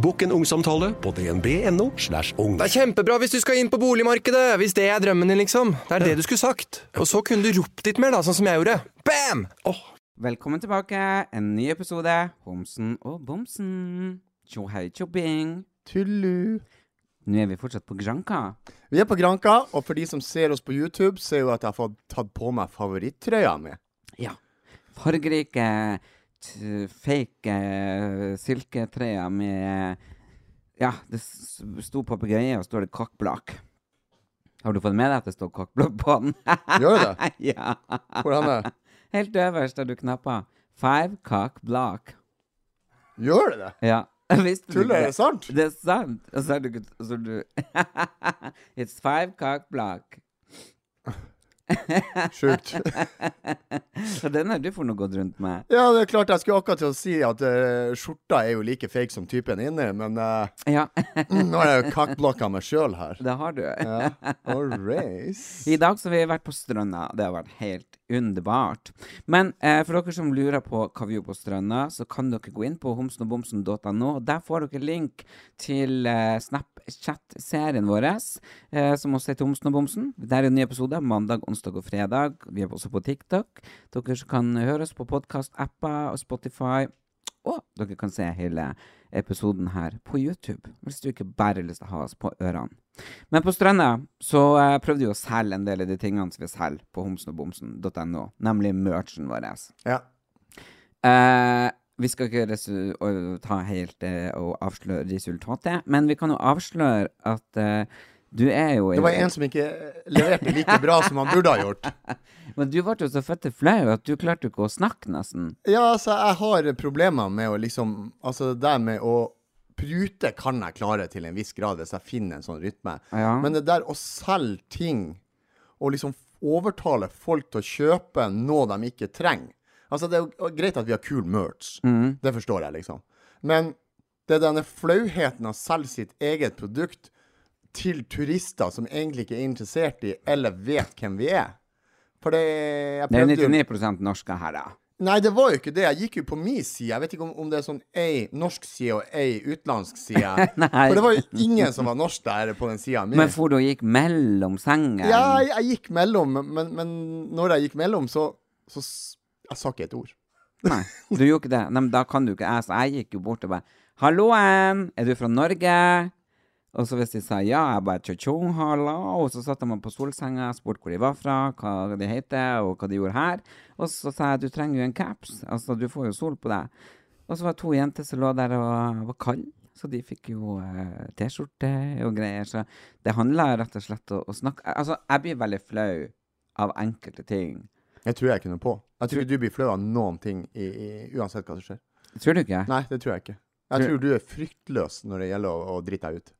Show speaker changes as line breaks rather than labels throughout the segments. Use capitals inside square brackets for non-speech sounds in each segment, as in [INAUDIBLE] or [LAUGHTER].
Bokk en ungsamtale på dnb.no. slash ung.
Det er kjempebra hvis du skal inn på boligmarkedet, hvis det er drømmen din, liksom. Det er det du skulle sagt. Og så kunne du ropt litt mer, da, sånn som jeg gjorde. Bam!
Velkommen tilbake. En ny episode. Homsen og bomsen. Tjo hei, tjobbing.
Tullu.
Nå er vi fortsatt på Granka.
Vi er på Granka, og for de som ser oss på YouTube, ser jo at jeg har fått tatt på meg favoritttrøya mi.
Ja. Fargerike, t- fake eh, silketrær med Ja, det s- sto papegøye, og så står det kokkblakk. Har du fått med deg at det står kokkblakk på den? [LAUGHS]
Gjør det det?
ja.
Hvordan er det?
Helt øverst har du knappa. Five cock block.
Gjør det det?
Ja. [LAUGHS] Visste du
Tuller,
ikke
er det sant?
Det er sant. Og så har du ikke så har du [LAUGHS] It's five cock block.
Sjukt.
Så den har du for noe gått rundt med.
Ja, det er klart jeg skulle akkurat til å si at eh, skjorta er jo like fake som typen inni, men eh,
Ja,
nå har jeg jo kakkblokka meg sjøl her.
det har du.
Ja. All race.
I dag så har vi vært på stranda. Det har vært helt underbart. Men eh, for dere som lurer på hva vi gjorde på stranda, så kan dere gå inn på homsenogbomsen.no. og Der får dere link til eh, Snapchat-serien vår, eh, som også heter Homsen og bomsen. Der er en ny episode mandag, onsdag og fredag. Vi er også på TikTok. Dere kan høre oss på podkast-apper og Spotify. Og dere kan se hele episoden her på YouTube, hvis du ikke bare har lyst til å ha oss på ørene. Men på Stranda så eh, prøvde vi å selge en del av de tingene som vi selger på homsenogbomsen.no, nemlig merchen vår.
Ja.
Eh, vi skal ikke resu å- ta helt eh, og avsløre resultatet, men vi kan jo avsløre at eh, du er jo
Det var en som ikke leverte like bra som han burde ha gjort.
Men du ble jo så fette flau at du klarte jo ikke å snakke, nesten.
Ja, altså, jeg har problemer med å liksom Altså, det der med å prute kan jeg klare til en viss grad hvis jeg finner en sånn rytme.
Ja.
Men det der å selge ting, og liksom overtale folk til å kjøpe noe de ikke trenger Altså, det er jo greit at vi har kul merch.
Mm.
Det forstår jeg, liksom. Men det er denne flauheten av å selge sitt eget produkt til turister som egentlig ikke er interessert i, eller vet hvem vi er. For det jeg
Det er
prøvde jo-
99 norske her, da.
Nei, det var jo ikke det. Jeg gikk jo på min side. Jeg vet ikke om, om det er sånn ei norsk side og ei utenlandsk side.
[LAUGHS]
For det var jo ingen som var norsk der på den sida mi.
Men for du gikk mellom sengene
Ja, jeg, jeg gikk mellom, men, men når jeg gikk mellom, så, så s- Jeg sa ikke et ord.
Nei, [LAUGHS] du gjorde ikke det. Nei, men da kan du ikke jeg. Så jeg gikk jo bort og bare 'Halloen, er du fra Norge?' Og så hvis de sa ja, jeg bare tjo-tjo, halla. Og så satte de meg på solsenga, spurte hvor de var fra, hva de heter, og hva de gjorde her. Og så sa jeg 'du trenger jo en caps', altså du får jo sol på deg. Og så var det to jenter som lå der og var kalde. Så de fikk jo eh, T-skjorte og greier. Så det handla rett og slett om å snakke Altså, jeg blir veldig flau av enkelte ting.
Jeg tror jeg kunne på. Jeg tror ikke du blir flau av noen ting i, i, uansett hva som skjer.
Tror du ikke?
Nei, det tror jeg ikke. Jeg
Tror-
tror du er fryktløs når det gjelder å, å drite deg ut.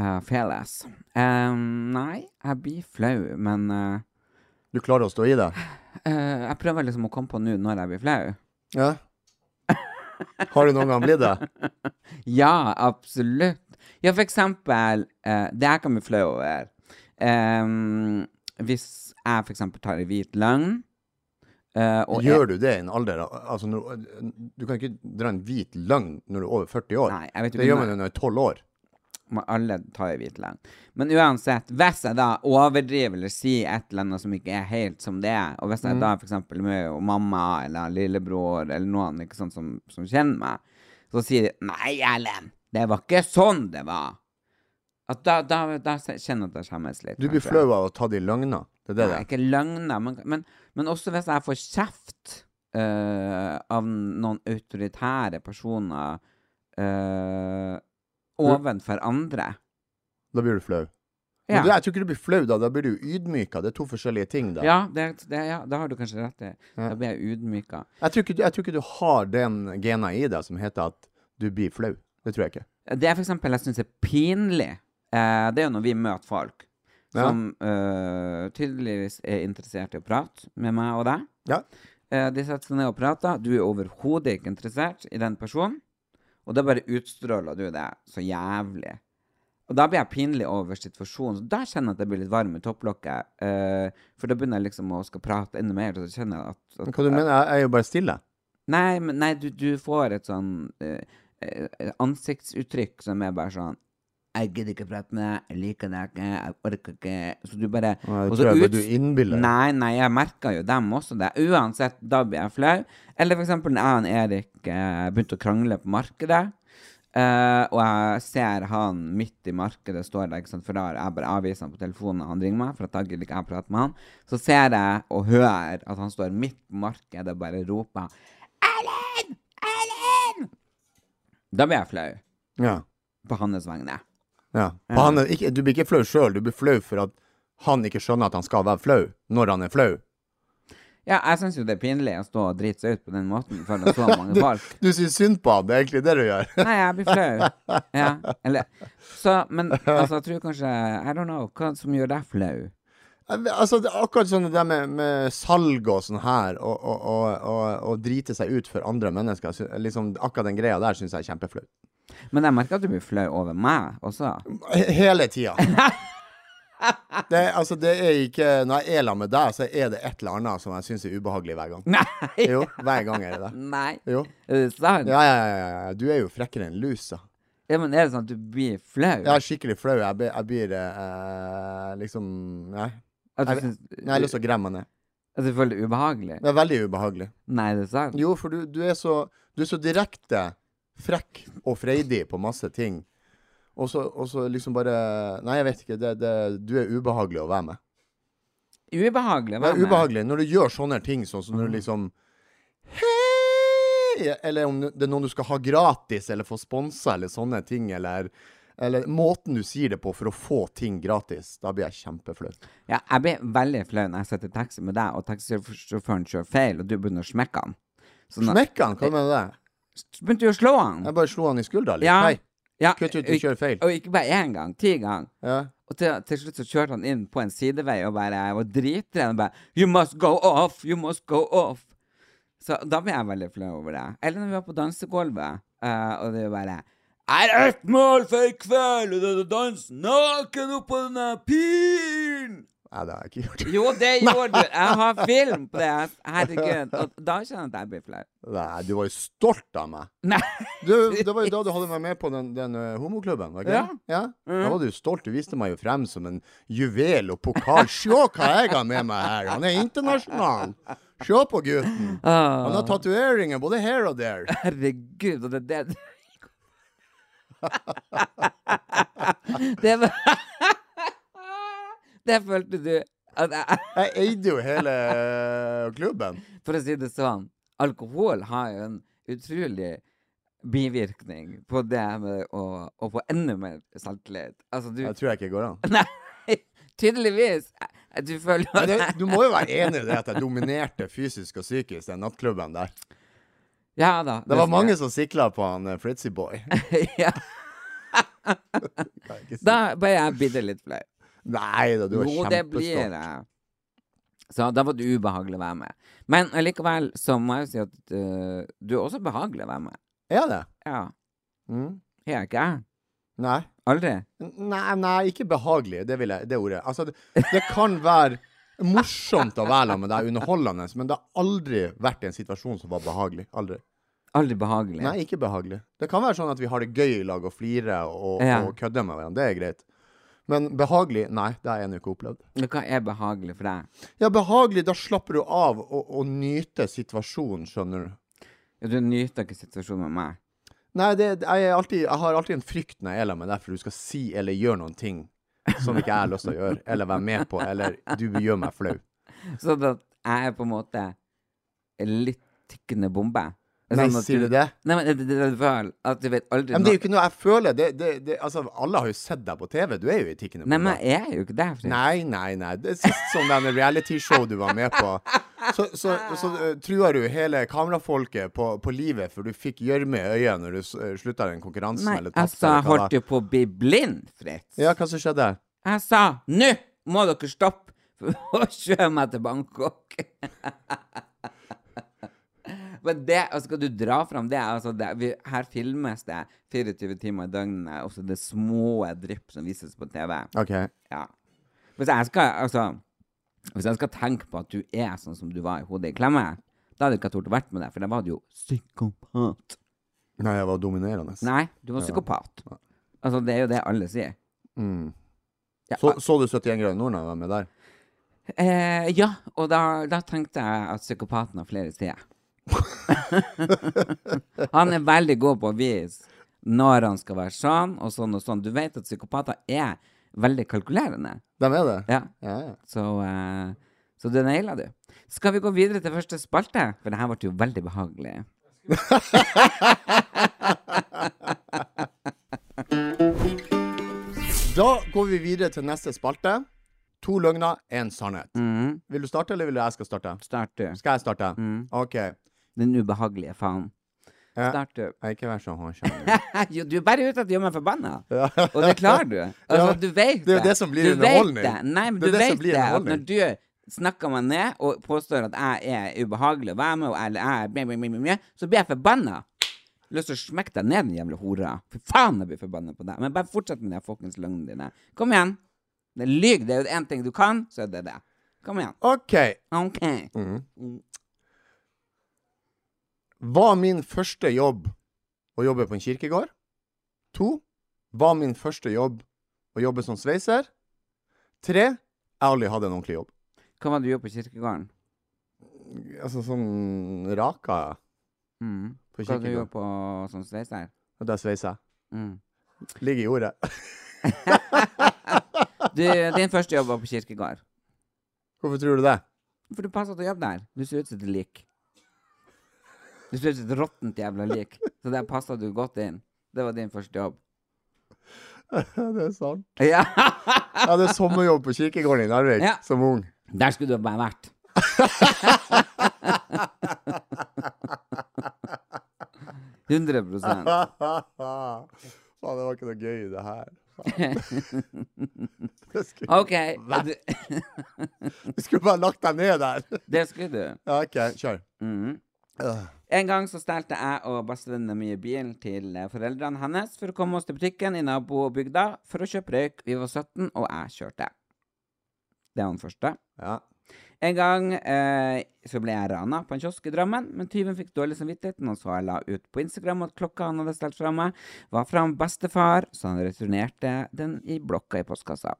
Uh, Feles. Ehm, nei, jeg blir flau, men eh,
Du klarer å stå i
[LAUGHS]
det?
eh, jeg prøver liksom å komme på nå når jeg blir flau.
Ja. Har du noen gang blitt det?
Ja, absolutt. Ja, for eksempel, eh, det jeg kan bli flau over ehm, Hvis jeg for eksempel tar en hvit løgn eh, og jeg-
Gjør du det i en alder av- altså, når, Du kan ikke dra en hvit løgn når du er over 40 år.
Nei, jeg vet jo
det
ikke
gjør
når-
man jo når man er 12 år.
må alle ta i hvit løgn. Men uansett, hvis jeg da overdriver eller sier et eller annet som ikke er helt som det er, og hvis
Mm.
jeg da f.eks. med mamma eller lillebror eller noen ikke sant, som, som kjenner meg, så sier de 'Nei, Erlend, det var ikke sånn det var'. At da, da, da kjenner jeg at jeg skjemmes litt.
Du blir
kanskje.
flau av å ta de løgner. Det er
Nei,
det det er.
ikke løgner, men, men, men også hvis jeg får kjeft eh, av noen autoritære personer eh, ovenfor andre.
Da blir du flau.
Ja.
Men du, jeg tror ikke du blir flau da, da blir du ydmyka. Det er to forskjellige ting. da.
Ja, det, det, ja, da har du kanskje rett i. Da blir jeg ydmyka.
Jeg, tror ikke, du- jeg tror ikke du har den gena i deg som heter at du blir flau. Det tror jeg ikke.
Det jeg for eksempel jeg syns er pinlig, eh, det er jo når vi møter folk
Ja.
som eh, tydeligvis er interessert i å prate med meg og deg.
Ja.
Eh, de setter seg ned og prater. Du er overhodet ikke interessert i den personen. Og da bare utstråler du det så jævlig. Og da blir jeg pinlig over situasjonen. Så da kjenner jeg at jeg blir litt varm i topplokket. eh, for da begynner jeg liksom å skal prate enda mer. Og så kjenner jeg at,
Men
at
Hva du mener? Jeg er jo bare stille.
Nei, men nei, du, du får et sånn eh, eh, ansiktsuttrykk som er bare sånn Jeg gidder ikke prate med deg, jeg liker deg ikke, jeg orker ikke Så du bare
Nei, det
og så
tror jeg bare
ut-
du innbiller deg.
Nei, nei, jeg merker jo dem også det. Uansett, da blir jeg flau. Eller for eksempel når jeg og Erik eh, begynte å krangle på markedet. eh, og jeg ser han midt i markedet står der, ikke sant? for da har jeg bare avviser han på telefonen. og Han ringer meg, for at da gidder ikke jeg prate med han. Så ser jeg og hører at han står midt på markedet og bare roper Erlend! Erlend! Da blir jeg flau
Ja.
på hans vegne.
ja. Og Han er ikke, du blir ikke flau sjøl, du blir flau for at han ikke skjønner at han skal være flau, når han er flau.
Ja, jeg syns jo det er pinlig å stå og drite seg ut på den måten foran så
[LAUGHS]
mange folk.
Du syns synd på han, det er egentlig det du gjør. [LAUGHS]
Nei, jeg blir flau. Ja, eller Så, men altså, jeg tror kanskje I don't know. Hva som gjør deg flau?
Altså, det er akkurat sånn det der med, med salg og sånn her, og, og, og, og, og drite seg ut for andre mennesker, sy- liksom, akkurat den greia der syns jeg er kjempeflaut.
Men jeg merker at du blir flau over meg også.
He- Hele tida.
[LAUGHS]
Det, er- altså, det er ikke Når jeg er sammen med deg, så er det et eller annet som jeg syns er ubehagelig hver gang.
Nei!
Jo, hver gang er det det.
Nei. [LAUGHS]
Jo.
Er det sant?
Ja, ja, ja, ja, ja. Du er jo frekkere enn lusa.
Ja, men er det sånn at du blir flau?
Jeg er skikkelig flau. Jeg blir, jeg blir eh, liksom Nei.
At du
Jeg,
syns-
nei, jeg har lyst til å gremme meg ned.
At du føler det ubehagelig?
Det er veldig ubehagelig.
Nei, er det sant?
Jo, for du, du, er, så, du er så direkte frekk og freidig på masse ting. Og så, og så liksom bare Nei, jeg vet ikke. Det, det, du er ubehagelig å være med.
Ubehagelig?
Det
Hva Mm.
er ubehagelig når du gjør sånne ting, sånn som når du liksom Hei! Eller om det er noen du skal ha gratis, eller få sponsa, eller sånne ting, eller eller måten du sier det på for å få ting gratis. Da blir jeg kjempeflau.
Ja, jeg blir veldig flau når jeg sitter i taxi med deg, og taxisjåføren kjører feil, og du begynner å smekke han. Så nå-
Smekka han? Hva mener du med det?
Så begynte du å slå han.
Jeg bare slo han i skuldra litt.
Ja.
Hei.
Ja,
kutt ut,
og
du
ikke-
kjører feil.
Og ikke bare én gang, ti ganger.
Ja.
Og til, til slutt så kjørte han inn på en sidevei og bare var dritren og bare You must go off! You must go off! Så da ble jeg veldig flau over det. Eller når vi var på dansegulvet, eh, og det var bare Er ett mål for i kveld, og det er å danse naken oppå denne piren!
Nei, det har jeg ikke gjort.
Jo, [LAUGHS] det gjorde du! Jeg har film på det! Herregud. Og da kjenner jeg at jeg blir flau.
Nei, du var jo stolt av meg.
Nei.
Du, det var jo da du hadde meg med på den, den eh, homoklubben, var ikke det? Ja.
Mm.
Da var du jo stolt. Du viste meg jo frem som en juvel og pokal. Se hva jeg har med meg her! Han er internasjonal! Se på gutten!
Ah.
Han har tatoveringer både her og der.
Herregud, og det er
[LAUGHS]
det Det var Det følte du at jeg,
Jeg eide jo hele eh, klubben.
For å si det sånn, alkohol har jo en utrolig bivirkning på det med å, å få enda mer selvtillit. Altså, du
Jeg tror jeg ikke går an.
Nei, [LAUGHS] tydeligvis. Du føler
Men det, du må jo være enig i det at jeg dominerte fysisk og psykisk den nattklubben der.
Ja da.
Det var mange som sikla på han eh,
[LAUGHS]
Fritzy Boy.
ja. Da ble jeg bitte litt flau.
Nei da, du var
Jo, det blir
kjempestolt.
det. Så da var det ubehagelig å være med. Men allikevel så må jeg jo si at øh, du er også behagelig å være med.
Er det?
Ja.
Mm.
Er jeg ikke jeg?
Nei.
Aldri?
Nei, nei, ikke behagelig. Det, vil jeg, det ordet. Altså, det, det kan være morsomt å være sammen med deg, underholdende, men det har aldri vært en situasjon som var behagelig. Aldri.
Aldri behagelig?
Nei, ikke behagelig. Det kan være sånn at vi har det gøy i lag og flirer og,
Ja.
og kødder med hverandre. Det er greit. Men behagelig? Nei, det har jeg ennå ikke opplevd.
Men Hva er behagelig for deg?
Ja, behagelig, da slapper du av og, og nyter situasjonen, skjønner du.
Ja, Du nyter ikke situasjonen med meg.
Nei, det, jeg, er alltid, jeg har alltid en frykt når jeg er sammen med deg, for du skal si eller gjøre noen ting som ikke jeg har lyst til å gjøre, eller være med på, eller du gjør meg flau.
Sånn at jeg er på en måte litt tikkende bombe. Det er
Nei,
sånn at
sier du det?
Nei, men det, det, det er vel at du vet aldri
Men det er jo
når-
ikke noe jeg føler. Det, det, det, altså, alle har jo sett deg på TV. Du er jo i tikkende
Nei,
bombe.
men jeg er jo ikke der. Fredrik.
Nei, nei, nei. Det er sist som den realityshow du var med på. Så, så, så eh, trua du hele kamerafolket på, på livet, for du fikk gjørme i øyet når du s- eh, slutta den konkurransen.
Nei, altså,
eller tapte,
jeg sa
eller
jeg
hva
holdt
det
jo på å bli blind, Fritz.
var. Ja, hva som skjedde?
Jeg sa 'nå må dere stoppe og kjøre meg til Bangkok'. [LAUGHS] Men det, altså skal du dra fram det, altså det vi, Her filmes det 24 timer i døgnet, og så det små drypp som vises på TV.
OK.
Ja. Hvis jeg skal, altså Hvis jeg skal tenke på at du er sånn som du var i hodet i klemme, da hadde jeg ikke tort å vært med deg, for da var du jo psykopat.
Nei, jeg var dominerende.
Nei, du var psykopat. Altså, det er jo det alle sier.
Mm.
Ja, ah.
Så, så du 71 grader nord da jeg var med der?
Eh, ja, og da, da tenkte jeg at psykopaten har flere sider. [LAUGHS] han er veldig god på å vise når han skal være sånn og sånn og sånn. Du vet at psykopater er veldig kalkulerende.
De er det?
Ja.
Ja, ja.
Så, eh, så det naila du. Skal vi gå videre til første spalte? For det her ble jo veldig behagelig.
Da går vi videre til neste spalte. To løgner, én sannhet.
Mhm.
Vil du starte, eller vil du jeg skal starte?
Start du.
Skal jeg starte? OK.
Den ubehagelige faen.
Ja.
Start du.
Nei, Ikke vær så håndkjent.
[LAUGHS] Jo, du er bare ute etter å gjøre meg forbanna. Og det klarer
[LAUGHS]
du. Altså,
Ja,
du vet
det er jo det som
Du
blir
vet
underholdning.
det. Nei, men
Det er
du
det som
vet
blir
det. At når
underholdning.
du snakker meg ned og påstår at jeg er ubehagelig å være med, og eller jeg er bli, bli, bli, bli, bli, så blir jeg forbanna. Lyst til å smekke deg ned, din jævla hore. Fy faen, jeg blir forbanna på deg. Men bare fortsett med de fuckings løgnene dine. Kom igjen. Det er lyg. Det er jo én ting du kan, så er det det. Kom igjen.
OK.
OK. Mm.
Var min første jobb å jobbe på en kirkegård? To. Var min første jobb å jobbe som sveiser? Tre. Jeg har aldri hatt en ordentlig jobb.
Hva var det du gjorde på kirkegården?
Altså sånn raka
Mm.
på
Hva var det du gjorde
kirkegården.
på sånn som sveiser?
Og der sveiser jeg.
Mm.
Ligger i jordet.
Du, din første jobb var på kirkegård.
[LAUGHS] Hvorfor tror du det?
For du passer til å jobbe der. Du ser ut som et lik. Du ser ut som et råttent jævla lik. Så der passa du godt inn. Det var din første jobb.
det er [LAUGHS] sant.
Ja!
Jeg hadde sommerjobb på kirkegården i Narvik
Ja.
som
[LAUGHS]
ung.
Der skulle du bare vært. Hundre prosent.
[LAUGHS] Faen, det var ikke noe gøy i det her.
[LAUGHS]
[LAUGHS] Faen. Det skulle,
OK. og Du,
du skulle bare lagt deg ned der. [LAUGHS]
det skulle du.
Ja, OK, kjør.
Mm. En gang så stelte jeg og bestevenninna mi bilen til eh, foreldrene hennes for å komme oss til butikken i nabobygda for å kjøpe røyk. Vi var 17, og jeg kjørte. Det var den første.
Ja.
En gang eh, så ble jeg rana på en kiosk i Drammen, men tyven fikk dårlig samvittighet når han så jeg la ut på Instagram at klokka han hadde stelt fra meg, var fra han bestefar, så han returnerte den i blokka i postkassa.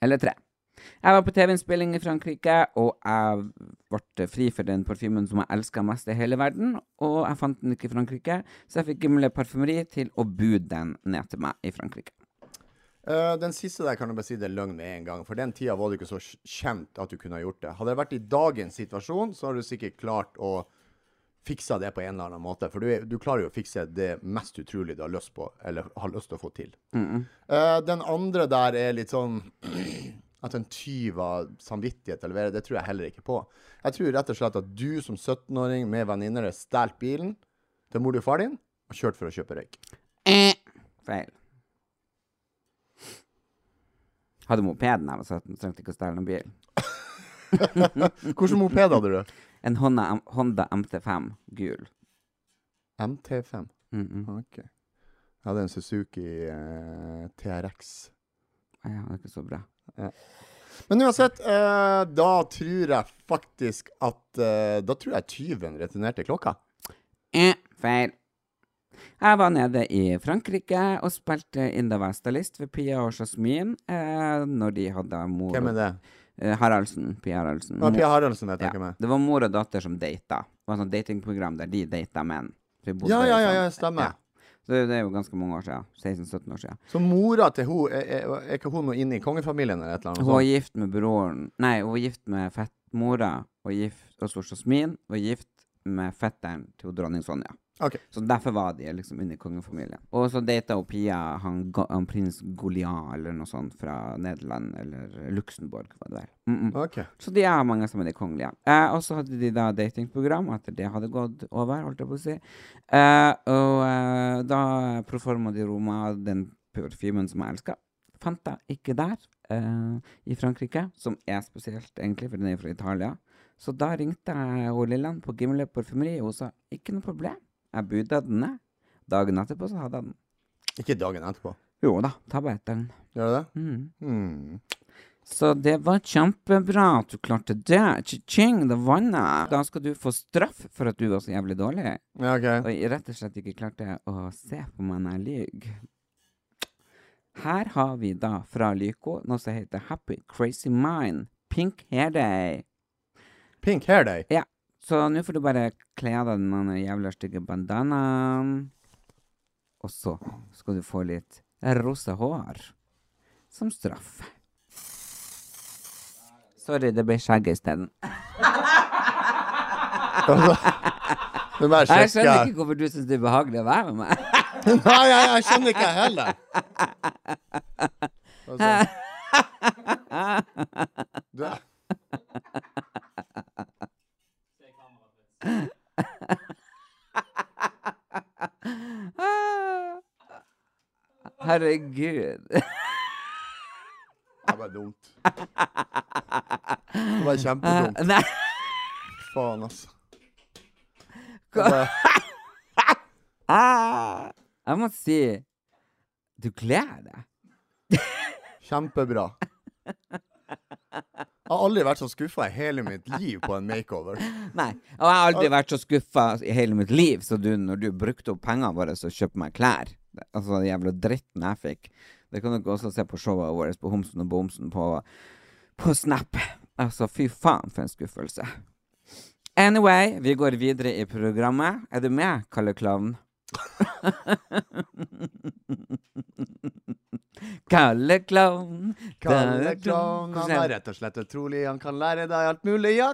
Eller tre. Jeg var på TV-innspilling i Frankrike, og jeg ble fri for den parfymen som jeg elska mest i hele verden, og jeg fant den ikke i Frankrike, så jeg fikk Gimle Parfymeri til å bude den ned til meg i Frankrike.
Eh, den siste der kan du bare si det er løgn med en gang. For den tida var du ikke så kj- kjent at du kunne ha gjort det. Hadde det vært i dagens situasjon, så hadde du sikkert klart å fikse det på en eller annen måte. For du, er, du klarer jo å fikse det mest utrolig du har lyst på, eller har lyst til å få til. Eh, den andre der er litt sånn [CLEARS THROAT] at en tyv av samvittighet eller hva det er, det tror jeg heller ikke på. Jeg tror rett og slett at du som 17-åring med venninner har stjålet bilen til mor og far din og kjørt for å kjøpe røyk.
Eh, Feil. Hadde mopeden jeg var 17, trengte ikke å stjele noen bil.
Hvilken moped hadde du?
En Honda, M- Honda MT5 gul.
MT5.
Mm -mm.
Ok. Jeg hadde en Suzuki eh, TRX.
Ja, det er ikke så bra.
Men uansett, eh, da tror jeg faktisk at eh, Da tror jeg tyven returnerte klokka.
Eh, feil. Jeg var nede i Frankrike og spilte In the Vestalist for Pia og Jasmin eh, når de hadde mor
Hvem er det?
Eh, Haraldsen. Pia Haraldsen.
Det var Pia Haraldsen jeg
Ja,
tenker meg.
det var mor og datter som data. Det var et sånt datingprogram der de data menn. For de bodde
Ja,
i
ja, ja,
sånn-
ja, stemmer.
Så det det er jo ganske mange år siden. 16-17 år siden.
Så mora til hun, er, er, er ikke hun noe inne i kongefamilien eller et eller
Hun var
annet?
gift med broren Nei, hun var gift med fettmora og gift og Sors Jasmin. Og gift med fetteren til dronning Sonja.
Ok.
Så derfor var de liksom under kongefamilien. Og så data hun Pia han, Go- han prins Goliat eller noe sånt fra Nederland, eller Luxembourg, var det vel. Mm -mm.
Ok.
Så de er mange som er de kongelige. Eh, og så hadde de da datingprogram etter det hadde gått over, holdt jeg på å si. Eh, og eh, da proforma de Roma den parfymen som jeg elsker. Fanta ikke der, eh, i Frankrike, som er spesielt, egentlig, for den er jo fra Italia. Så da ringte jeg hun Lilland på Gimle parfymeri, og hun sa ikke noe problem, jeg buda den ned. Dagen etterpå så hadde jeg den.
Ikke dagen etterpå.
Jo da, ta bare et døgn.
Gjør det det?
Mm.
Hmm.
Så det var kjempebra at du klarte det. Ching, det vannet. Da skal du få straff for at du var så jævlig dårlig.
Ja,
Og
OK.
jeg rett og slett ikke klarte å se på meg når jeg lyg. Her har vi da fra Lyco noe som heter Happy Crazy Mind. Pink Hair Day.
Pink hair day.
Så nå får du bare kle av deg den andre jævla stygge bandanaen. Og så skal du få litt rosa hår som straff. Sorry, det ble skjegget isteden.
Det bare
Jeg
sjekker
skjønner ikke hvorfor du syns det er behagelig å være med meg.
Nei, jeg, jeg skjønner ikke jeg heller. Altså. Du,
Herregud.
det var dumt. Det var kjempedumt.
Nei,
Faen, altså. Det var-
ah, jeg må si Du kler deg.
Kjempebra. Jeg har aldri vært så skuffa i hele mitt liv på en makeover.
Nei. Og jeg har aldri vært så skuffa i hele mitt liv som du når du brukte opp pengene våre og kjøpte meg klær. Det- Altså den jævla dritten jeg fikk. Det kan dere også se på showet vårt på Homsen og Bomsen på, på Snap. Altså, fy faen for en skuffelse. Anyway, vi går videre i programmet. Er du med, Kalle Klovn? [LAUGHS] Kalle Klovn.
Kalle Klovn, han er rett og slett utrolig, han kan lære deg alt mulig. Ja,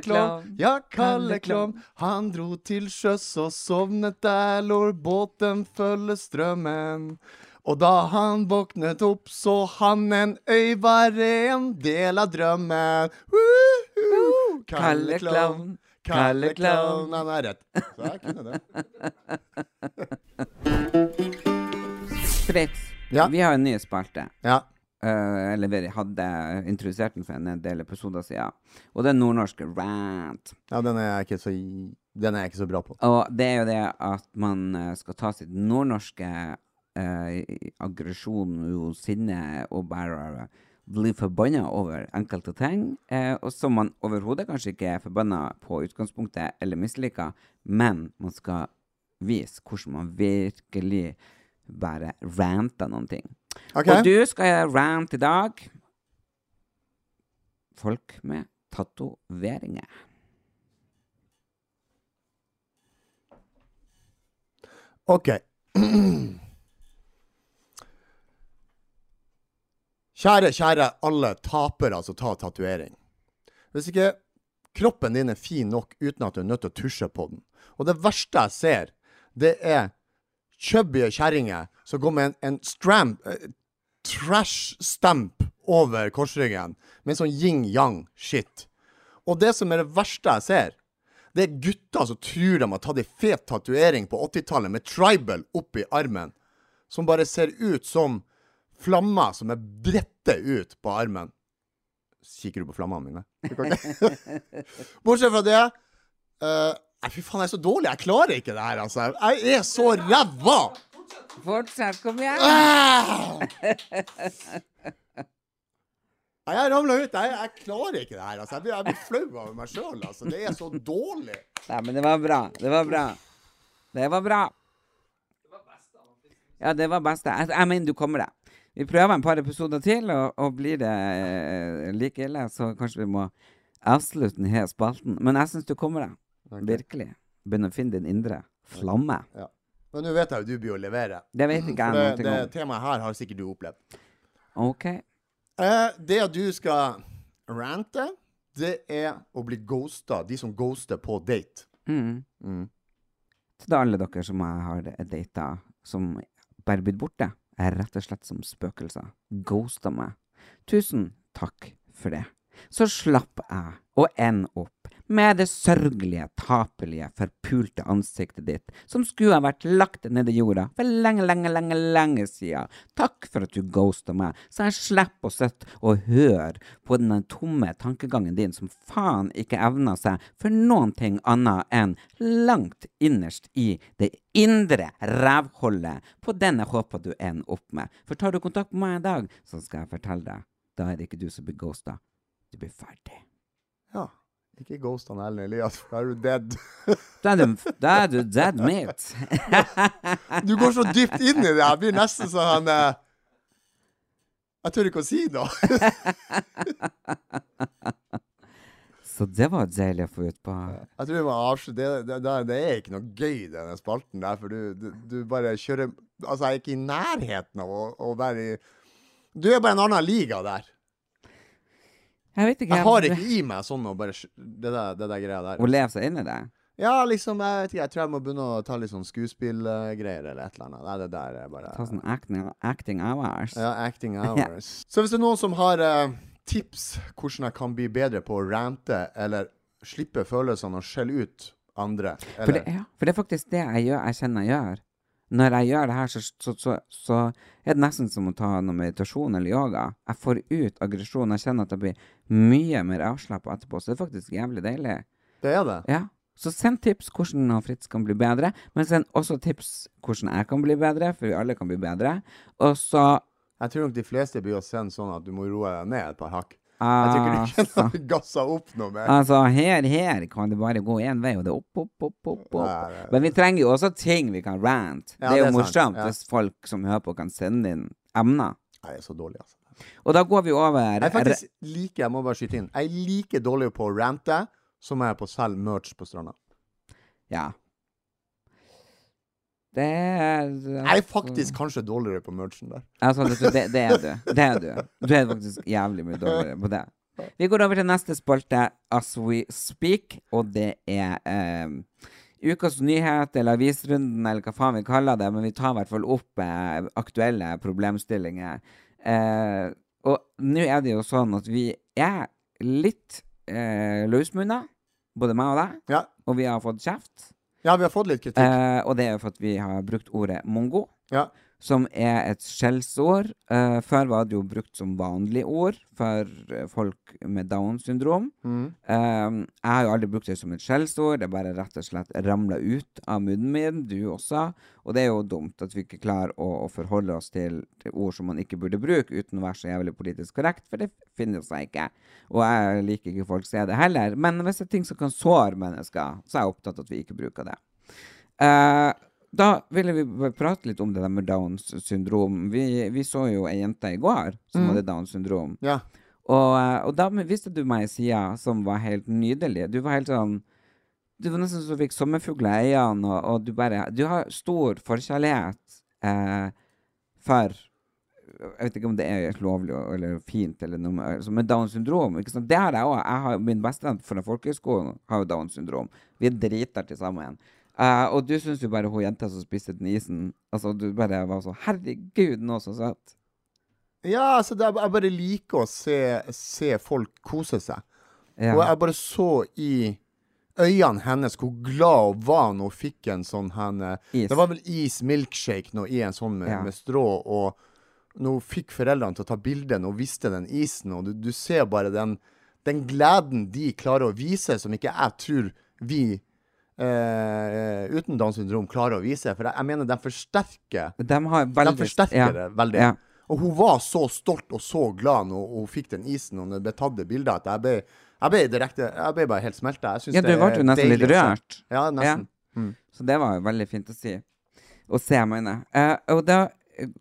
Kalle Klovn.
Klovn, ja,
Kalle
Kalle
Klovn.
Klovn. Han dro til sjøs og sovnet der, lår båten følge strømmen. Og da han våknet opp, så han en øy var en del av drømmen. Woohoo!
Kalle Klovn. Kalle
Kalle
Klovn.
Klovn, han er rett. Så jeg kunne det. [LAUGHS]
Fritz,
Ja.
vi har en ny spalte.
Ja.
Eh, eller vi hadde introdusert den for en del episoder siden. Og det er nordnorsk rant.
ja, den er jeg ikke så, den er jeg ikke så bra på.
Og det er jo det at man eh, skal ta sitt nordnorske eh, aggresjon og sinne og bare bli forbanna over enkelte ting, eh, og som man overhodet kanskje ikke er forbanna på utgangspunktet eller misliker, men man skal vise hvordan man virkelig bare ranter noen ting.
Ok,
Og du skal rant i dag. Folk med tatoveringer.
Ok. Kjære, kjære alle tapere som tar tatovering. Hvis ikke kroppen din er fin nok uten at du er nødt til å tusje på den. Og det verste jeg ser, det er chubby kjerringer som går med en, en stramp, eh, trash stamp over korsryggen, med sånn yin-yang-shit. Og det som er det verste jeg ser, det er gutter som tror de har tatt ei fet tatovering på 80-tallet med tribal oppi armen, som bare ser ut som flammer som er brettet ut på armen. Kikker du på flammene mine? Du kan ikke- [LAUGHS] Bortsett fra det eh, Nei, fy faen, jeg er så dårlig. Jeg klarer ikke det her, altså. Jeg er så ræva!
Fortsett, kom igjen!
Ah! Nei, Jeg ramla ut. Jeg, jeg klarer ikke det her. Altså. Jeg, blir, jeg blir flau over meg sjøl. Altså. Det er så dårlig.
Nei, men det var bra. Det var bra. Det var bra. Ja, det var beste. Jeg, jeg mener, du kommer deg. Vi prøver en par episoder til, og, og blir det eh, like ille, så kanskje vi må avslutte denne spalten. Men jeg syns du kommer deg. Virkelig. Begynner å finne din indre flamme.
Ja. Men nå vet jeg jo du blir å levere.
Det vet ikke
Det,
jeg
det
noe om.
temaet her har sikkert du opplevd.
OK.
Eh, det at du skal rante, det er å bli ghosta. De som ghoster på date.
Mm.
Mm.
Til da alle dere som jeg har data, som bare blitt borte, er rett og slett som spøkelser. Ghosta meg. Tusen takk for det. Så slapp jeg å ende opp med det sørgelige, tapelige, forpulte ansiktet ditt, som skulle ha vært lagt ned i jorda for lenge, lenge, lenge, lenge siden. Takk for at du ghosta meg, så jeg slipper å sitte og høre på den tomme tankegangen din som faen ikke evner seg for noen ting annet enn langt innerst i det indre rævholdet på den jeg håper du ender opp med. For tar du kontakt med meg i dag, så skal jeg fortelle deg. Da er det ikke du som blir ghosta. Du blir ferdig.
Ja. Ikke ghost han Ellen Elias, for da er du dead.
Da er du, da er du dead meat.
Du går så dypt inn i det. Jeg blir nesten sånn han eh, Jeg tør ikke å si noe.
Så det var deilig å få ut på.
Jeg tror vi må avslutte. Det, det, det, det er ikke noe gøy, i denne spalten der, for du, du, du bare kjører Altså, jeg er ikke i nærheten av å, å være i Du er bare en annen liga der.
Jeg vet ikke.
Jeg har ikke i meg sånn å bare sk- Det der, det der greia der.
Å leve seg inn i det.
Ja, liksom, jeg vet ikke. Jeg tror jeg må begynne å ta litt sånn skuespillgreier eller et eller annet. Nei, det der er bare
Ta sånn acting, acting hours.
Ja,
[LAUGHS]
acting hours. Så hvis det er noen som har eh, tips hvordan jeg kan bli bedre på å rante eller slippe følelsene og skjelle ut andre
For det,
eller,
ja, for det er faktisk det jeg gjør, jeg kjenner jeg gjør. Når jeg gjør det her, så, så, så, så er det nesten som å ta noe meditasjon eller yoga. Jeg får ut aggresjon. Jeg kjenner at jeg blir mye mer avslappa etterpå, så det er faktisk jævlig deilig.
Det er det.
Ja. Så send tips hvordan han Fritz kan bli bedre, men send også tips hvordan jeg kan bli bedre, for vi alle kan bli bedre. Og så
Jeg tror nok de fleste blir å sende sånn at du må roe deg ned et par hakk. Jeg tror ikke
ah,
du kjenner at du gassa opp noe mer.
Altså, her, her kan det bare gå én vei, og det er opp, opp, opp, opp. opp.
Nei, nei, nei.
Men vi trenger jo også ting vi kan rant.
Ja,
det er jo
det er sant,
morsomt
ja.
hvis folk som hører på, kan sende inn emner.
Nei, Jeg er så dårlig, altså.
Og da går vi over
Jeg er faktisk like, jeg må bare skyte inn, jeg er like dårlig på å rante som jeg er på å selge merch på stranda.
Ja. Det er
Jeg er faktisk kanskje dårligere på merchen der.
Altså, vet du, det, det er du. Det er du. Du er faktisk jævlig mye dårligere på det. Vi går over til neste spalte, As We Speak, og det er eh, ukas nyhet, eller avisrunden, eller hva faen vi kaller det, men vi tar i hvert fall opp eh, aktuelle problemstillinger. Eh, og nå er det jo sånn at vi er litt eh, løsmunna, både meg og deg,
Ja.
og vi har fått kjeft.
ja, vi har fått litt kritikk.
Eh, og det er jo for at vi har brukt ordet mongo
Ja.
som er et skjellsord. Eh, før var det jo brukt som vanlig ord for eh, folk med Downs syndrom.
Mm.
Eh, jeg har jo aldri brukt det som et skjellsord, det er bare rett og slett ramla ut av munnen min, du også. Og det er jo dumt at vi ikke klarer å, å forholde oss til, til ord som man ikke burde bruke, uten å være så jævlig politisk korrekt, for det finner seg ikke. Og jeg liker ikke folk som er det heller. Men hvis det er ting som kan såre mennesker, så er jeg opptatt av at vi ikke bruker det. Eh, da ville vi bare prate litt om det der med Downs syndrom. Vi, vi så jo ei jente i går som hadde Downs syndrom.
Ja.
Og, eh, og da viste du meg ei side som var helt nydelig. Du var helt sånn Du var nesten så du fikk sommerfugler i øynene, og, og du bare Du har stor forkjærlighet eh, for jeg vet ikke om det er helt lovlig og- eller fint, eller noe med, altså, men Downs syndrom ikke sant? Det har jeg òg. Jeg har- Min bestevenn fra folkehøyskolen har jo Downs syndrom. Vi er driter til sammen. Eh, og du syns jo bare hun jenta som spiste den isen Altså Du bare var sånn Herregud, nå så søt.
Ja, altså, det er, jeg bare liker å se, se folk kose seg.
Ja.
Og jeg bare så i øynene hennes hvor glad hun var når hun fikk en sånn hen
Is.
Det var vel is milkshake nå i en sånn med,
Ja.
med strå, og når hun fikk foreldrene til å ta bilde når hun visste den isen, og du, du ser bare den, den gleden de klarer å vise, som ikke jeg tror vi eh, uten Downs syndrom klarer å vise. For jeg, jeg mener, den forsterker
De har veldig
de forsterker
ja.
det veldig.
Ja.
Og hun var så stolt og så glad når hun fikk den isen og når det ble tatt det bildet, at jeg ble, jeg ble direkte Jeg ble bare helt smelta. Jeg syns
Ja, du
det
ble jo nesten litt
deilig å se.
rørt.
Ja, nesten.
altså. Så det var jo veldig fint å si. Å se, mener jeg. Eh, og da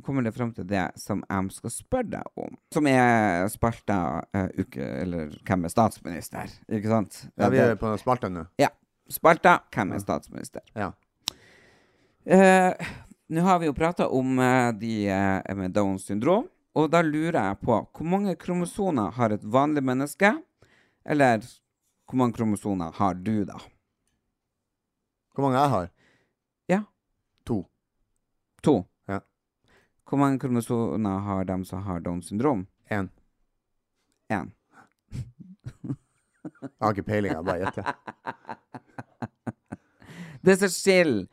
kommer det fram til det som jeg skal spørre deg om. Som er spalta eh, uke Eller hvem er statsminister? Ikke sant?
Ja, vi er på den spalten nå.
ja. Spalta hvem er statsminister?
Ja.
Eh, Nå har vi jo prata om eh, de eh, med Downs syndrom, og da lurer jeg på hvor mange kromosoner har et vanlig menneske? Eller hvor mange kromosoner har du, da?
Hvor mange jeg har?
Ja.
To.
To.
Ja.
Hvor mange kromosoner har de som har Downs syndrom?
Én.
Én.
Jeg har ikke peiling, jeg bare gjetter.
Det som skiller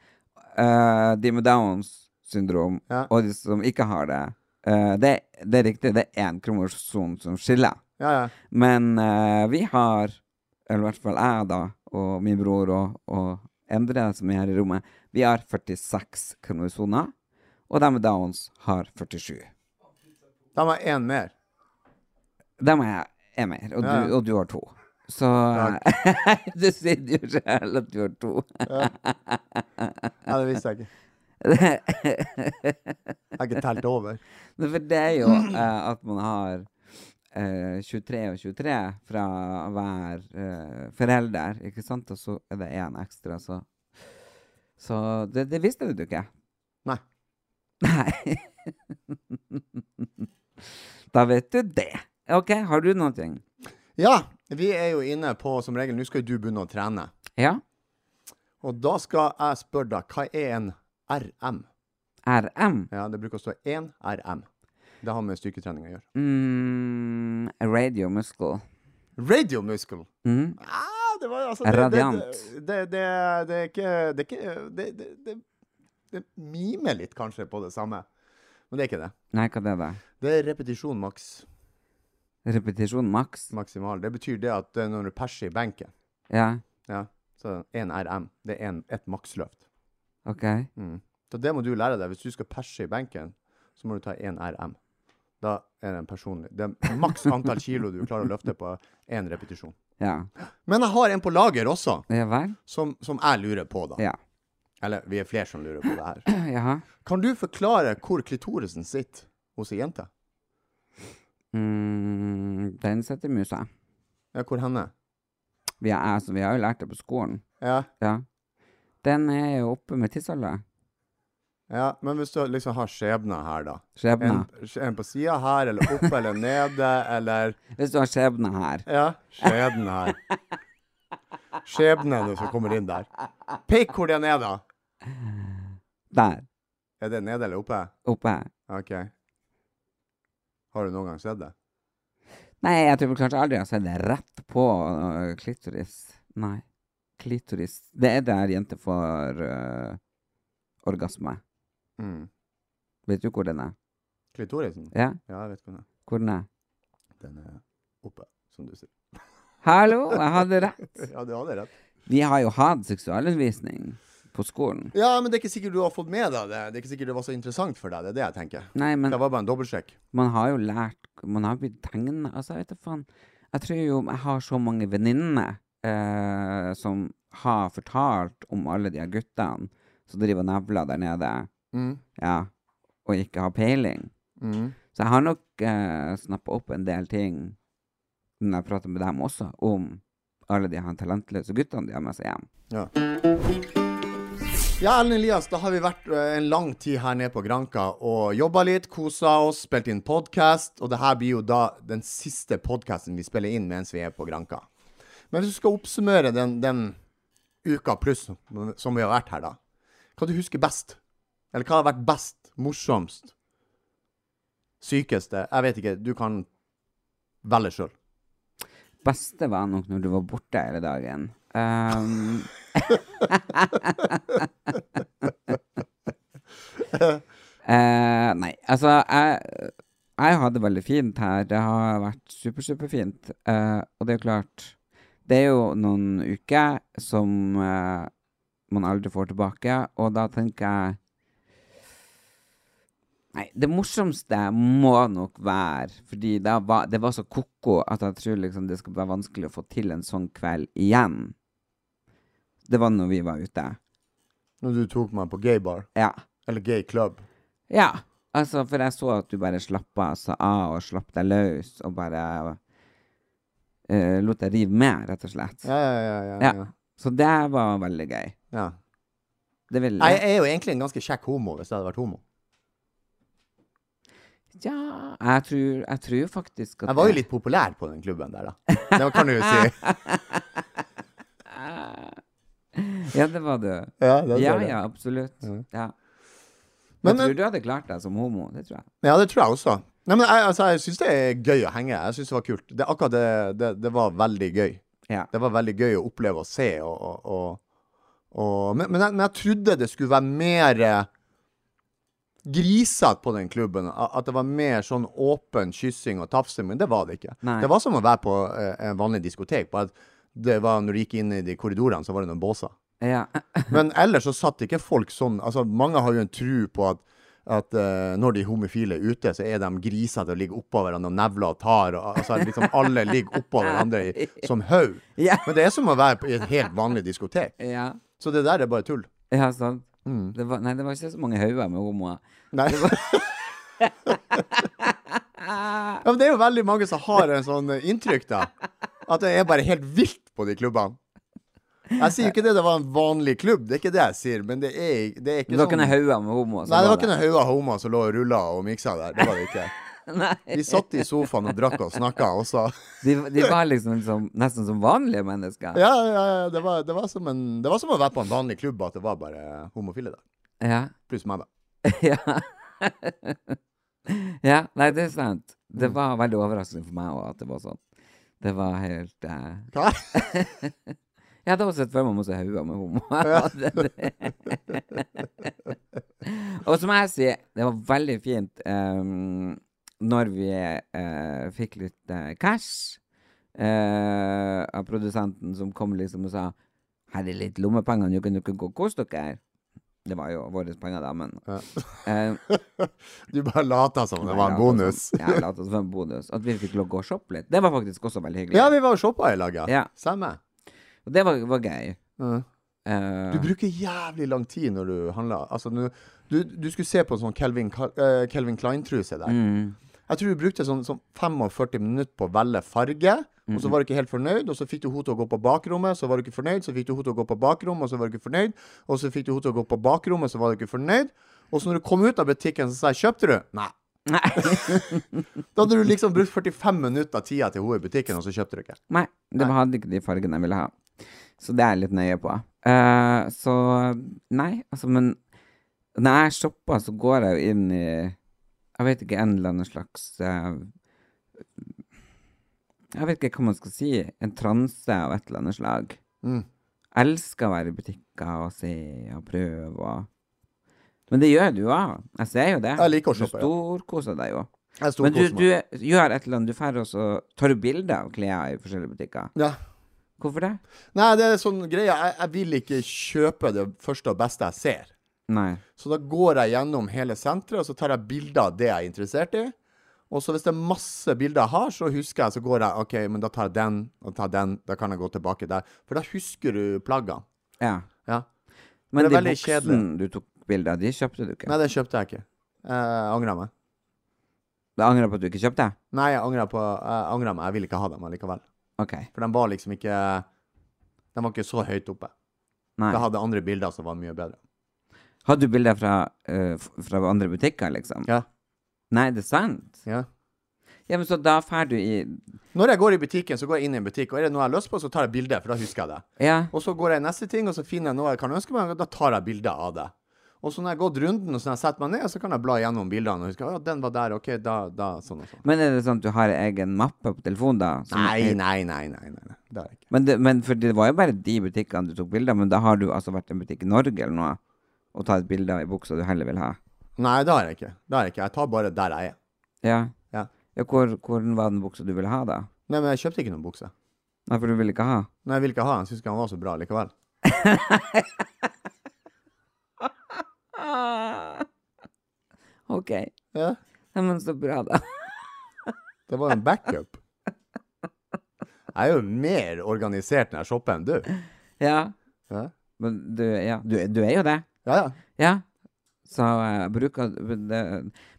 eh, de med Downs syndrom
Ja.
og de som ikke har det, eh, det, det er riktig, det er én kromosom som skiller.
Ja, ja.
Men eh, vi har, eller i hvert fall jeg da, og min bror og, og Endre som er her i rommet, vi har 46 kromosoner, og de med Downs har 47.
Da må jeg én mer.
Dem er jeg er mer, og,
Ja,
du,
ja.
og du har to. Så [LAUGHS] du sier jo selv at du har to.
Ja, det visste jeg ikke. Jeg har ikke telt over.
Men For det er jo eh, at man har eh, 23 og 23 fra hver eh, forelder, ikke sant? Og så er det én ekstra, så Så det, det visste du ikke.
Nei.
Nei. da vet du det. OK, har du noen ting?
Ja, vi er jo inne på som regel Nå skal jo du begynne å trene.
Ja.
Og da skal jeg spørre deg, hva er en RM?
RM.
Ja, det bruker å stå én RM. Det har med styrketrening å gjøre.
Mm, radio muscle.
Radiomuskel.
Mm.
Ah, det var altså
Radiant.
Det, det, det, det er ikke Det, er ikke, det, det, det, det mimer litt kanskje på det samme, men det er ikke det.
Nei, hva det er det?
Det er repetisjon maks
Repetisjon maks?
maksimal. Det betyr det at eh, når du perser i benken,
Ja,
ja, så én RM, det er en, et maksløft.
OK.
Mm. Så det må du lære deg. Hvis du skal perse i benken, så må du ta én RM. Da er det en personlig Det er maks antall kilo du klarer å løfte på én repetisjon.
Ja.
Men jeg har en på lager også,
Ja vel?
som, som jeg lurer på, da.
Ja.
Eller vi er flere som lurer på det her.
Jaha.
Kan du forklare hvor klitorisen sitter hos ei jente?
Mm, den setter musa.
Ja, hvor henne?
Vi, er, altså, vi har jo lært det på skolen.
Ja,
Ja. Den er jo oppe med tisseholdet.
ja, men hvis du liksom har skjebna her, da. En,
Skjebne.
en på sida her, eller oppe eller nede, eller
Hvis du har skjebne her.
Ja, skjebnen her. Skjebnen som kommer inn der. Pek hvor den er, da.
Der.
Er det nede eller oppe?
Oppe her.
OK. Har du noen gang sett det?
Nei, jeg tror vel kanskje aldri jeg har sett det rett på øh, klitoris. Nei. Klitoris. Det er der jenter får øh, orgasme.
Mm.
Vet du hvor den er?
Klitorisen?
Ja,
Ja, jeg vet hvor den er.
hvor den er?
Den er oppe, som du sier. [LAUGHS]
Hallo, jeg hadde rett.
Ja, du hadde rett.
Vi har jo hatt seksualundervisning på skolen.
Ja, men det er ikke sikkert du har fått med deg det. Det er ikke sikkert det var så interessant for deg. Det er det jeg tenker.
Nei, men
Det var bare en dobbeltsjekk.
man har jo lært Man har blitt tegnet Altså, jeg vet da faen. Jeg tror jo jeg har så mange venninner eh, som har fortalt om alle de her guttene som driver og nevler der nede,
Mm.
ja, og ikke har peiling.
Mm.
Så jeg har nok eh, snappa opp en del ting når jeg prater med dem også, om alle de her talentløse guttene de har med seg hjem.
Ja. Ja, Ellen Elias, da har vi vært ø, en lang tid her nede på Granka og jobba litt, kosa oss, spilt inn podkast, og det her blir jo da den siste podkasten vi spiller inn mens vi er på Granka. Men hvis du skal oppsummere den, den uka pluss som vi har vært her, da, hva du husker best? Eller hva har vært best, morsomst, sykeste? Jeg vet ikke, du kan velge sjøl.
Beste var nok når du var borte hele dagen. Um, eh, nei, altså jeg, jeg hadde veldig fint her. Det har vært super, superfint. Eh, og det er jo klart Det er jo noen uker som eh, man aldri får tilbake, og da tenker jeg Nei, det morsomste må nok være Fordi det var, det var så koko at jeg tror liksom det skal være vanskelig å få til en sånn kveld igjen. Det var når vi var ute.
Når du tok meg på gay bar,
Ja.
eller gay club.
Ja. Altså, for jeg så at du bare slappa altså, av og slapp deg løs og bare eh, lot deg rive med, rett og slett.
Ja, ja, ja. ja,
Ja.
ja.
Så det var veldig gøy.
ja.
Det ville
Jeg er jo egentlig en ganske kjekk homo, hvis jeg hadde vært homo.
Ja, jeg tror, jeg tror faktisk at
Jeg var jo
det-
litt populær
[LAUGHS]
på den klubben der, da. Det kan du jo si.
Ja, det var du.
Ja, det tror
Ja,
jeg.
ja, absolutt. Ja.
Men- eh,
Men, tror du hadde klart deg som homo? Det tror jeg.
Ja, det tror jeg også. Nei, men jeg, altså, jeg syns det er gøy å henge. Jeg syns det var kult. Det, akkurat det, det, det var veldig gøy.
Ja.
Det var veldig gøy å oppleve og se. Og, og, og, og, men, men, jeg, men jeg trodde det skulle være mer eh, grisete på den klubben. a- At det var mer sånn åpen kyssing og tafsing. Men det var det ikke.
Nei.
Det var som å være på eh, en vanlig diskotek. Bare at det var, når du gikk inn i de korridorene, så var det noen båser. [LAUGHS]
Ja.
Men ellers så satt ikke folk sånn Altså, mange har jo en tru på at at eh, når de homofile er ute, så er de grisete og ligger oppå hverandre og nevler og tar. Og, altså liksom Alle ligger oppå hverandre i, som haug.
Ja.
Men det er som å være på- i et helt vanlig diskotek.
ja.
Så det der er bare tull.
ja sant.
Mm.
Det var, nei, det var ikke så mange hauger med homoer.
Nei. ja, men det er jo veldig mange som har en sånn eh, inntrykk, da. At det er bare helt vilt på de klubbene. Jeg sier jo ikke det det var en vanlig klubb, det er ikke det jeg sier, men det er, det er ikke
Det var ikke
sånn
noen hauger med homoer. som
Nei, det var
var
ikke noen hauger homer som lå og rulla og miksa der. Det var det ikke. Vi satt i sofaen og drakk og snakka, og så
De, de var liksom som, nesten som vanlige mennesker.
[LAUGHS] Ja, ja, ja. Det var, det, var som en, det var som å være på en vanlig klubb, at det var bare homofile der.
Ja.
Pluss [LAUGHS] meg, da.
Ja. [LAUGHS] ja. Nei, det er sant. Det
Mm.
var veldig overraskende for meg òg at det var sånn. Det var helt eh,
Hva?
[LAUGHS] Jeg hadde også sett for meg masse hauger med homoer. Det- det- og som jeg sier, det var veldig fint eh, når vi eh, fikk litt eh, cash eh, av produsenten som kom liksom og sa her er litt lommepenger, nå kan dere gå og kose dere. Det var jo våre penger, da, men
[LAUGHS]
eh,
[LAUGHS] Du bare lata som det var sånn. en
Nei, la
bonus.
oss- Ja, la oss være en bonus. At vi fikk lov å gå og shoppe litt. Det var faktisk også veldig hyggelig.
Ja, vi var og shoppa i lag, ja.
Ja.
Samme.
Og det var, var gøy.
Mm.
Eh,
Du bruker jævlig lang tid når du handler. Altså, du, du, du skulle se på en sånn Calvin, Ka- eh, Calvin Klein-truse der.
mm,
Jeg tror du brukte sånn, sånn 45 minutter på å velge farge, og
Mm.
så var du ikke helt fornøyd, og så fikk du henne til å gå på bakrommet, så var du ikke fornøyd, så fikk du henne til å gå på bakrommet, og så var du ikke fornøyd, og så fikk du henne til å gå på bakrommet, så var du ikke fornøyd, og så når du kom ut av butikken, så sa jeg, kjøpte du? Nei. da hadde du liksom brukt 45 minutter av tida til henne i butikken, og så kjøpte du ikke.
nei, det hadde ikke de fargene jeg ville ha. Så det er jeg litt nøye på. Eh, så nei, altså, men når jeg shopper, så går jeg jo inn i Jeg vet ikke, en eller annen slags eh, Jeg vet ikke hva man skal si. En transe av et eller annet slag.
Mm.
elsker å være i butikker og se og prøve og Men det gjør du òg. Jeg ser jo det.
Jeg liker å shoppe, ja.
Du storkoser deg jo.
Jeg sto
Men
og
du,
koste meg.
du gjør et eller annet. Du drar og så tar du bilder av klær i forskjellige butikker.
Ja.
Hvorfor det?
Nei, det er sånn greie, jeg, jeg vil ikke kjøpe det første og beste jeg ser.
Nei.
Så da går jeg gjennom hele senteret, og så tar jeg bilder av det jeg er interessert i. Og så hvis det er masse bilder jeg har, så husker jeg, så går jeg, ok, men da tar jeg den, og tar den, da kan jeg gå tilbake der. For da husker du plaggene.
Ja.
Ja.
Men
det er
de
veldig
buksene du tok bilder av, de kjøpte du ikke?
Nei, det kjøpte jeg ikke. Jeg angrer meg.
Du angrer på at du ikke kjøpte?
Nei, jeg angrer, på, jeg angrer meg. Jeg ville ikke ha dem allikevel.
OK.
For de var liksom ikke, de var ikke så høyt oppe.
Nei.
Jeg hadde andre bilder som var mye bedre.
Hadde du bilder fra, eh, f- fra andre butikker, liksom?
Ja.
Nei, det er sant?
Ja.
Ja, men så da drar du i
Når jeg går i butikken, så går jeg inn i en butikk, og er det noe jeg har lyst på, så tar jeg bilder, for da husker jeg det.
Ja.
Og så går jeg i neste ting, og så finner jeg noe jeg kan ønske meg, og da tar jeg bilder av det. Og så når jeg har gått runden, og så når jeg setter meg ned, så kan jeg bla gjennom bildene og huske ja, den var der, ok, da, da, sånn og sånn.
Men er det sånn at du har egen mappe på telefonen, da? som
Nei,
er-
nei, nei, nei, nei, nei. det er jeg ikke.
Men, det, men for det var jo bare de butikkene du tok bilder av, men da har du altså vært i en butikk i Norge eller noe, og tatt et bilde av ei bukse du heller vil ha.
Nei, det har jeg ikke. Det har jeg ikke. Jeg tar bare der jeg er.
Ja.
Ja.
ja hvor, hvordan var den buksa du ville ha, da?
Nei, men jeg kjøpte ikke noen bukse.
Nei, for du ville ikke ha.
Nei, jeg vil ikke ha den. Jeg syns ikke han var så bra likevel.
Ah. OK.
Ja,
Nei, men så bra, da.
det var jo en backup. Jeg er jo mer organisert når jeg shopper enn du.
Ja.
Ja.
Men du, ja. du, du er jo det.
Ja, ja.
Ja. Så jeg bruker men det,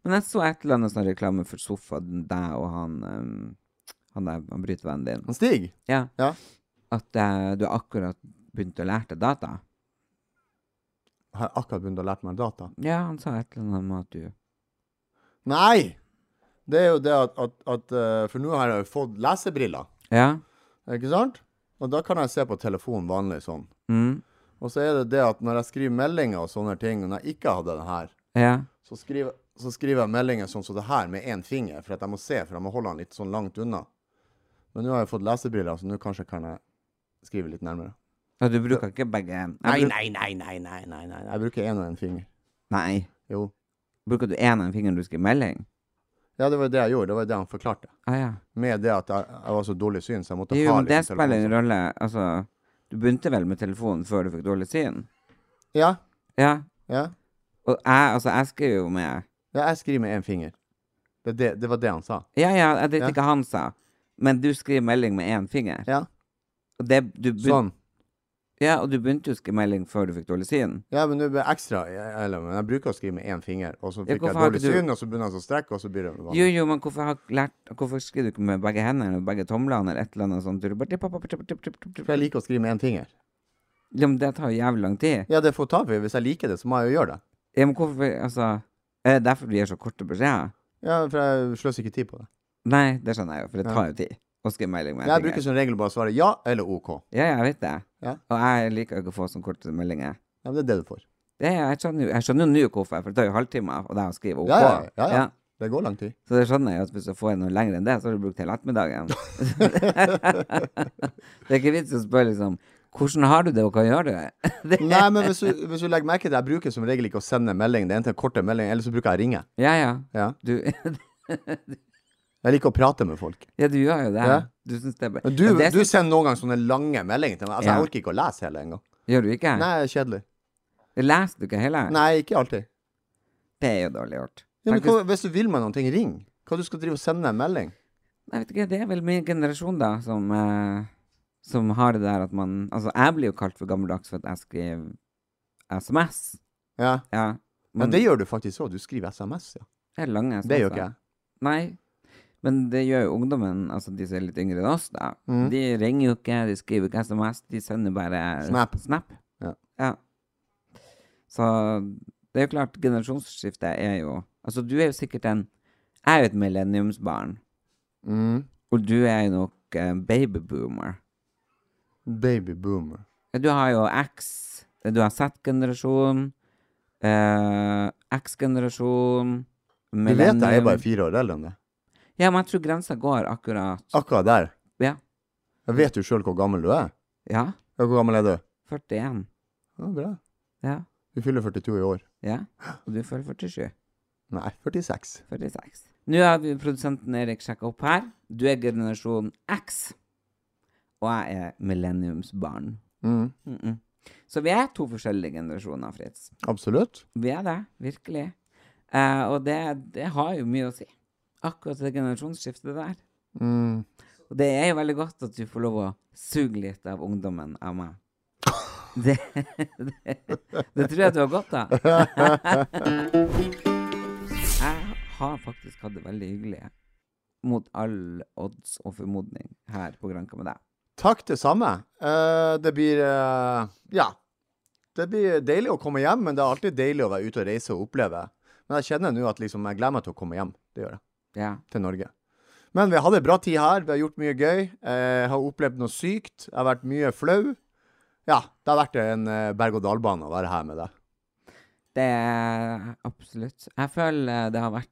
Men jeg så et eller annet sånn reklame for sofaen, deg og han ehm, Han der han brytevennen din.
Han Stig.
Ja.
Ja.
At eh, du har akkurat begynt å lære deg data.
Har jeg akkurat begynt å lære meg data.
Ja, han sa et eller annet om at du
Nei! Det er jo det at, at, at eh, For nå har jeg jo fått lesebriller,
Ja.
ikke sant? Og da kan jeg se på telefonen vanlig sånn.
Mm.
Og så er det det at når jeg skriver meldinger og sånne ting, og når jeg ikke hadde den her,
Ja.
så skriver, så skriver jeg meldinger sånn som det her med én finger, for at jeg må se, for jeg må holde den litt sånn langt unna. Men nå har jeg fått lesebriller, så nå kanskje kan jeg skrive litt nærmere.
Og du bruker ikke begge Jeg
Nei,
bruk-
nei, nei, nei, nei, nei, nei. Jeg bruker én og én finger.
nei.
Jo.
Bruker du én av fingeren du skriver melding?
Ja, det var det jeg gjorde. Det var det han forklarte.
Ah, ja.
Med det at jeg, jeg var så dårlig syn, så jeg måtte
Jo,
ha
men det
liksom
spiller en
telefonen.
rolle. Altså, du begynte vel med telefonen før du fikk dårlig syn?
Ja,
Ja.
ja.
Og jeg, altså, jeg skriver jo med
Ja, jeg skriver med én finger. Det, det, det var det han sa.
Ja, ja, jeg driter
Ja.
ikke hva han sa, men du skriver melding med én finger.
Ja,
Og det, du begyn-
sånn.
ja, og du begynte jo å skrive melding før du fikk dårlig syn.
Ja, men nå blir jeg ekstra jeg- eller, men Jeg bruker å skrive med én finger, og så
Ja,
fikk
hvorfor
jeg
har
dårlig
ikke du-
syn, og så begynner jeg å strekke, og så blir det vanlig.
Jo, jo, men hvorfor, har ikke lært, hvorfor skriver du ikke med begge hendene eller begge tomlene eller et eller annet sånt? Du bare tipp, tipp, tipp, tipp, tipp, tipp, tipp.
For jeg liker å skrive med én finger.
Ja, men det tar jo jævlig lang tid.
Ja, det får ta for. Hvis jeg liker det, så må jeg jo gjøre det.
Ja, men hvorfor, altså Er det derfor du gir så korte beskjeder?
Ja, For jeg sløser ikke tid på det.
Nei, det skjønner jeg jo, for det
Ja.
tar jo tid å skrive melding med
Jeg
en
bruker
finger.
som regel bare å svare ja eller OK.
Ja, ja, jeg vet det.
Ja.
Og jeg liker jo ikke å få sånne korte meldinger.
Ja, men det er det du får.
Det, er- jeg skjønner jo jeg skjønner jo nå hvorfor, for det tar jo halvtime, og det er å skrive OK.
Ja, ja, ja, ja. Det går [LAUGHS] lang tid.
Så det skjønner jeg jo at hvis du får noe lenger enn det, så har du brukt hele
[LAUGHS]
ettermiddagen. det er ikke vits å spørre liksom Hvordan har du det, og hva gjør du? det,
Nei, men hvis du, hvis du legger merke til Jeg bruker som regel ikke å sende melding. Det er enten korte meldinger, eller så bruker jeg å ringe.
ja, ja.
Ja.
Du, [LAUGHS]
Jeg liker å prate med folk.
ja, du gjør jo det.
Ja.
Du syns det er
Men du,
Og det
du
syns-
sender noen ganger sånne lange meldinger til meg. Altså,
Ja.
Jeg orker ikke å lese hele engang.
Gjør du ikke?
Nei, det er kjedelig.
Leser du ikke hele?
Nei, ikke alltid.
Det er jo dårlig gjort.
Ja, men
Faktisk,
hva, hvis du vil meg noen ting, ring. Hva du skal drive og sende en melding?
jeg vet ikke, det er vel min generasjon, da, som, eh, som har det der at man Altså, jeg blir jo kalt for gammeldags for at jeg skriver SMS.
Ja.
Ja.
Men det gjør du faktisk òg. Du skriver SMS, ja.
er lange SMS.
Det gjør ikke jeg.
Nei. Men det gjør jo ungdommen, altså de som er litt yngre enn oss, da.
Mm.
De ringer jo ikke, de skriver ikke SMS, de sender bare
Snap. Ja.
Så det er jo klart, generasjonsskiftet er jo Altså, du er jo sikkert en Jeg er jo et millenniumsbarn,
Mm.
og du er jo nok eh, babyboomer.
Baby boomer.
Du har jo X, du har Z-generasjon, eh, X-generasjon
Du vet jeg er
millennium.
bare fire år eldre enn deg.
Ja, men jeg tror grensa går akkurat
Akkurat der.
Ja.
Jeg vet jo sjøl hvor gammel du er.
Ja,
Ja, Hvor gammel er du?
41.
Ja, bra.
Ja.
Du fyller 42 i år.
ja. Og du føler 47.
Nei, 46.
46. Nå har vi produsenten Erik sjekka opp her. Du er generasjon X. Og jeg er millenniumsbarn.
Mm.
Mm -mm. Så vi er to forskjellige generasjoner, Fritz.
Absolutt.
Vi er det, virkelig. Eh, og det, det har jo mye å si. Akkurat det generasjonsskiftet der.
Mm.
Og det er jo veldig godt at du får lov å suge litt av ungdommen av meg. Det, [LAUGHS] det, det tror jeg du har godt [LAUGHS] av. Jeg har faktisk hatt det veldig hyggelig mot all odds og formodning her på Granka med deg.
Takk, det samme. Eh, det blir eh, Ja. Det blir deilig å komme hjem, men det er alltid deilig å være ute og reise og oppleve. Men jeg kjenner nå at liksom, jeg gleder meg til å komme hjem. Det gjør jeg.
Ja.
Til Norge. Men vi har hatt en bra tid her. Vi har gjort mye gøy. Eh, Jeg har opplevd noe sykt. Jeg har vært mye flau. Ja, det har vært en eh, berg-og-dal-bane å være her med deg.
Det er absolutt. Jeg føler det har vært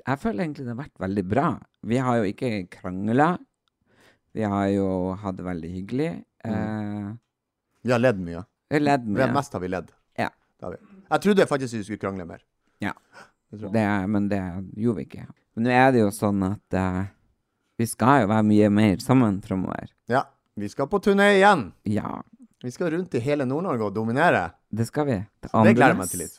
Jeg føler egentlig det har vært veldig bra. Vi har jo ikke krangla. Vi har jo hatt det veldig hyggelig. Eh,
Vi har ledd mye.
vi har ledd
Men
mye.
mest har vi ledd.
Ja.
Det har vi. Jeg trodde faktisk vi skulle krangle mer.
Det, men det gjorde vi ikke. Men nå er det jo sånn at eh, vi skal jo være mye mer sammen framover.
Ja. Vi skal på turné igjen.
Ja,
Vi skal rundt i hele Nord-Norge og dominere.
det skal vi. Det
Det gleder jeg meg til litt.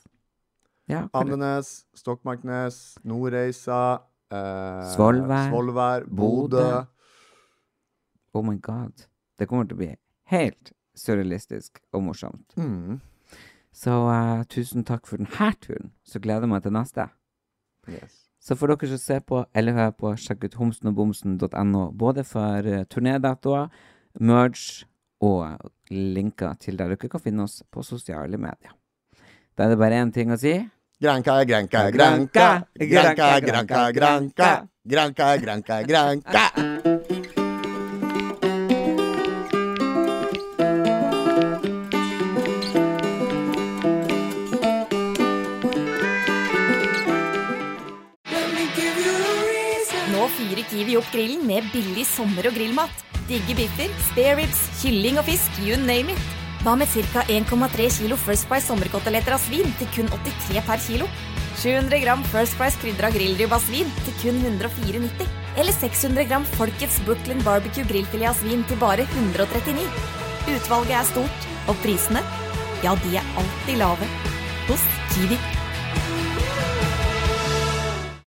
Ja, akkurat.
Andenes, Stokmarknes, Nordreisa eh,
Svolvær,
Svolvær, Bodø.
Bodø. oh my god. Det kommer til å bli helt surrealistisk og morsomt.
Mm.
Så eh, tusen takk for denne turen. Så gleder jeg meg til neste.
Yes.
Så for dere som ser på eller hører på, sjekk ut homsenogbomsen.no, både for eh, turnédatoer, merge og linker til der dere kan finne oss på sosiale medier. Da er det bare én ting å si.
Granka, granka, granka. Granka, granka, granka. Granka, granka, granka.
gir vi opp grillen med billig sommer- og grillmat. Digge biffer, spareribs, kylling og fisk, you name it. Hva med ca. 1,3 kilo First Price sommerkoteletter av svin til kun 83 per kilo? 700 gram First Price krydra grillribbe av svin til kun 104,90. Eller 600 gram Folkets Brooklyn Barbecue grillfilet av svin til bare 139. Utvalget er stort, og prisene, ja, de er alltid lave. Hos Kiwi.